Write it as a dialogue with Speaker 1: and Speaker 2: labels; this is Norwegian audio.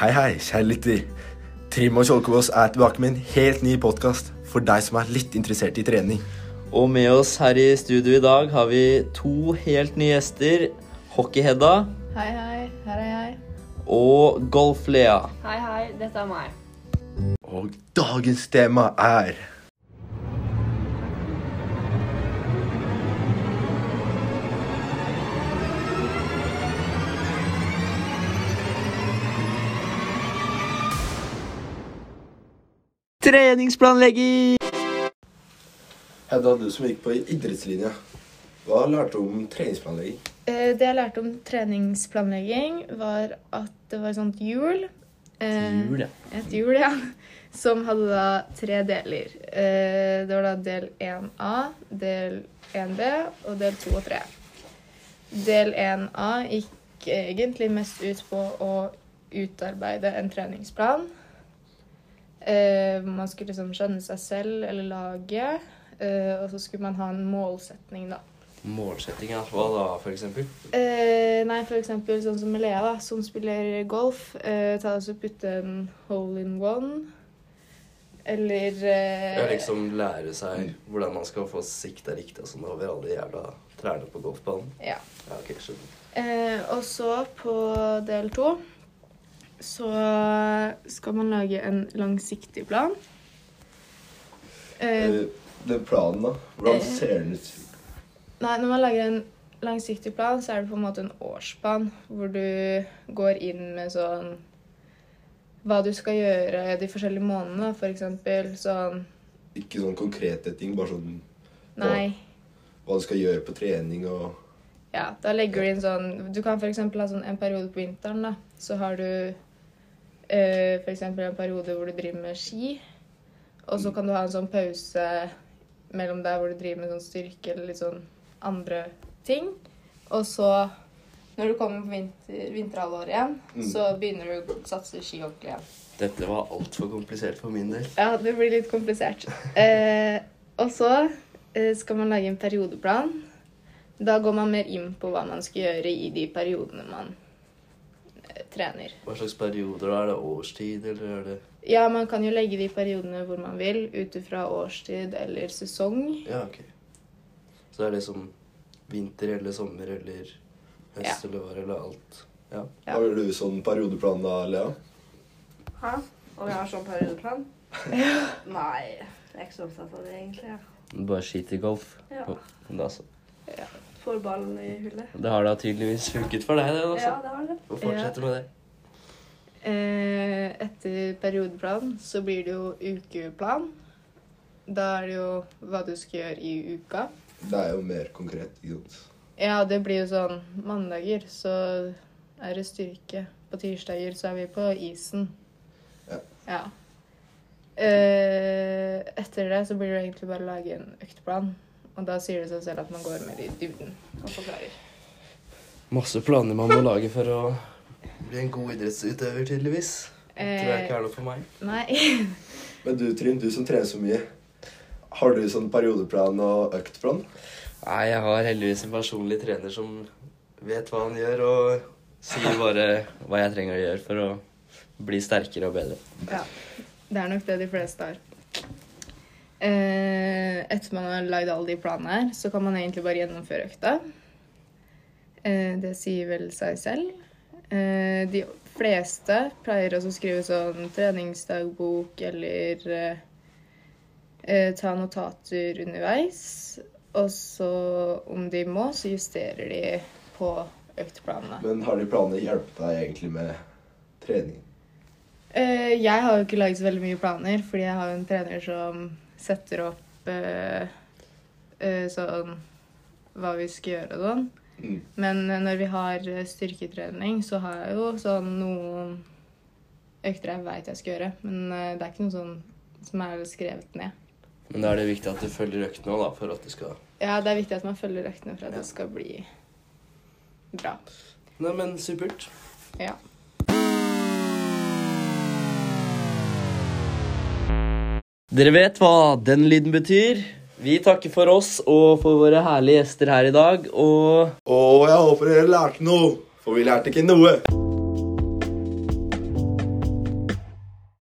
Speaker 1: Hei, hei, kjære lytter. Trym og Kjolkås er tilbake med en helt ny podkast for deg som er litt interessert i trening.
Speaker 2: Og med oss her i studio i dag har vi to helt nye gjester. Hockey-Hedda
Speaker 3: Hei, hei. Her er jeg.
Speaker 2: og Golf-Lea.
Speaker 4: Hei, hei. Dette er meg.
Speaker 1: Og dagens tema er
Speaker 2: Treningsplanlegging!
Speaker 1: Hedda, du som gikk på idrettslinja, hva lærte du om treningsplanlegging?
Speaker 3: Eh, Det jeg lærte om treningsplanlegging, var at det var et sånt hjul. eh,
Speaker 2: Jul, ja.
Speaker 3: Et hjul, ja. Som hadde da tre deler. Eh, Det var da del 1A, del 1B og del 2 og 3. Del 1A gikk egentlig mest ut på å utarbeide en treningsplan. Eh, hvor Man skulle liksom skjønne seg selv eller laget, eh, og så skulle man ha en målsetning, da.
Speaker 2: Målsettinga, hva da, for eksempel?
Speaker 3: Eh, nei, for eksempel sånn som Lea, da, som spiller golf. Eh, ta oss og putte en hole in one. Eller eh,
Speaker 5: Ja, liksom lære seg
Speaker 2: Mm.
Speaker 5: hvordan man skal få sikta riktig og sånn over alle de jævla trærne på golfbanen.
Speaker 3: ja.
Speaker 5: Ja, ok, skjønner.
Speaker 3: Eh, og så på del to så skal man lage en langsiktig plan. Eh,
Speaker 1: Eh, Den planen, da.
Speaker 3: eh.
Speaker 1: Hvordan ser den ut?
Speaker 3: Nei, når man lager en langsiktig plan, så er det på en måte en årsplan hvor du går inn med sånn Hva du skal gjøre de forskjellige månedene, f.eks. Sånn
Speaker 1: Ikke sånn konkrete ting, bare sånn
Speaker 3: Nei.
Speaker 1: hva du skal gjøre på trening og
Speaker 3: Ja, da legger du inn sånn Du kan f.eks. ha sånn en periode på vinteren, da. Så har du eh, for f.eks. en periode hvor du driver med ski. Og så kan du ha en sånn pause mellom der hvor du driver med sånn styrke eller litt sånn andre ting. Og så, når du kommer på vinter, vinterhalvåret igjen, så begynner du å satse ski ordentlig igjen.
Speaker 2: Dette var altfor komplisert for min del.
Speaker 3: Ja, det blir litt komplisert. Eh, og så eh, skal man lage en periodeplan. Da går man mer inn på hva man skal gjøre i de periodene man eh, trener.
Speaker 5: Hva slags perioder er det? Årstid, eller er det
Speaker 3: Ja, man kan jo legge de periodene hvor man vil, ut ifra årstid eller sesong.
Speaker 5: Ja, ok. Så det er liksom vinter eller sommer eller høst
Speaker 3: Ja.
Speaker 5: eller vår eller alt. Ja.
Speaker 3: Ja.
Speaker 1: Har du sånn periodeplan da, Lea?
Speaker 4: Hæ? Om jeg har sånn periodeplan? Nei. Jeg er ikke så opptatt av det, egentlig. Ja.
Speaker 2: Bare skit i golf.
Speaker 4: Ja.
Speaker 2: Da så.
Speaker 4: Får ballen i hullet.
Speaker 2: Det har da tydeligvis funket for deg, det.
Speaker 4: Ja,
Speaker 2: Altså.
Speaker 4: det har det.
Speaker 2: Og fortsette med det.
Speaker 3: Eh, etter periodeplan så blir det jo ukeplan. Da er det jo hva du skal gjøre i uka.
Speaker 1: Det er jo mer konkret. ikke sant?
Speaker 3: Ja, det blir jo sånn Mandager så er det styrke. På tirsdager så er vi på isen.
Speaker 1: Ja.
Speaker 3: ja. Eh, etter det så blir det egentlig bare å lage en økteplan. Og da sier det seg selv at man går mer i dybden og forklarer.
Speaker 2: Masse planer man må lage for å
Speaker 5: Bli en god idrettsutøver, tydeligvis. Tror jeg
Speaker 3: Eh,
Speaker 5: ikke er noe for meg.
Speaker 3: nei.
Speaker 1: Men du, Trym, du som trener så mye, har du sånn periodeplan og øktplan?
Speaker 2: Nei, jeg har heldigvis en personlig trener som vet hva han gjør, og sier bare hva jeg trenger å gjøre for å bli sterkere og bedre.
Speaker 3: Ja. Det er nok det de fleste har. Eh, etter man har lagd alle de planene her, så kan man egentlig bare gjennomføre økta. Eh, det sier vel seg selv. Eh, de fleste pleier også å skrive sånn treningsdagbok eller eh, eh, ta notater underveis. Og så, om de må, så justerer de på øktplanene.
Speaker 1: Men har de planer å hjelpe deg egentlig med trening?
Speaker 3: Eh, jeg har jo ikke laget så veldig mye planer, fordi jeg har jo en trener som setter opp eh, eh, sånn hva vi skal gjøre og sånn.
Speaker 1: Mm.
Speaker 3: Men eh, når vi har eh, styrketrening, så har jeg jo sånn noen økter jeg veit jeg skal gjøre. Men eh, det er ikke noe sånn som er skrevet ned.
Speaker 2: Men da er det viktig at du følger øktene òg, da, for at du skal
Speaker 3: Ja, det er viktig at man følger øktene for at det skal bli bra.
Speaker 2: Nei, men supert.
Speaker 3: Ja.
Speaker 2: Dere vet hva den lyden betyr. Vi takker for oss og for våre herlige gjester her i dag, og
Speaker 1: Og jeg håper dere lærte noe, for vi lærte ikke noe.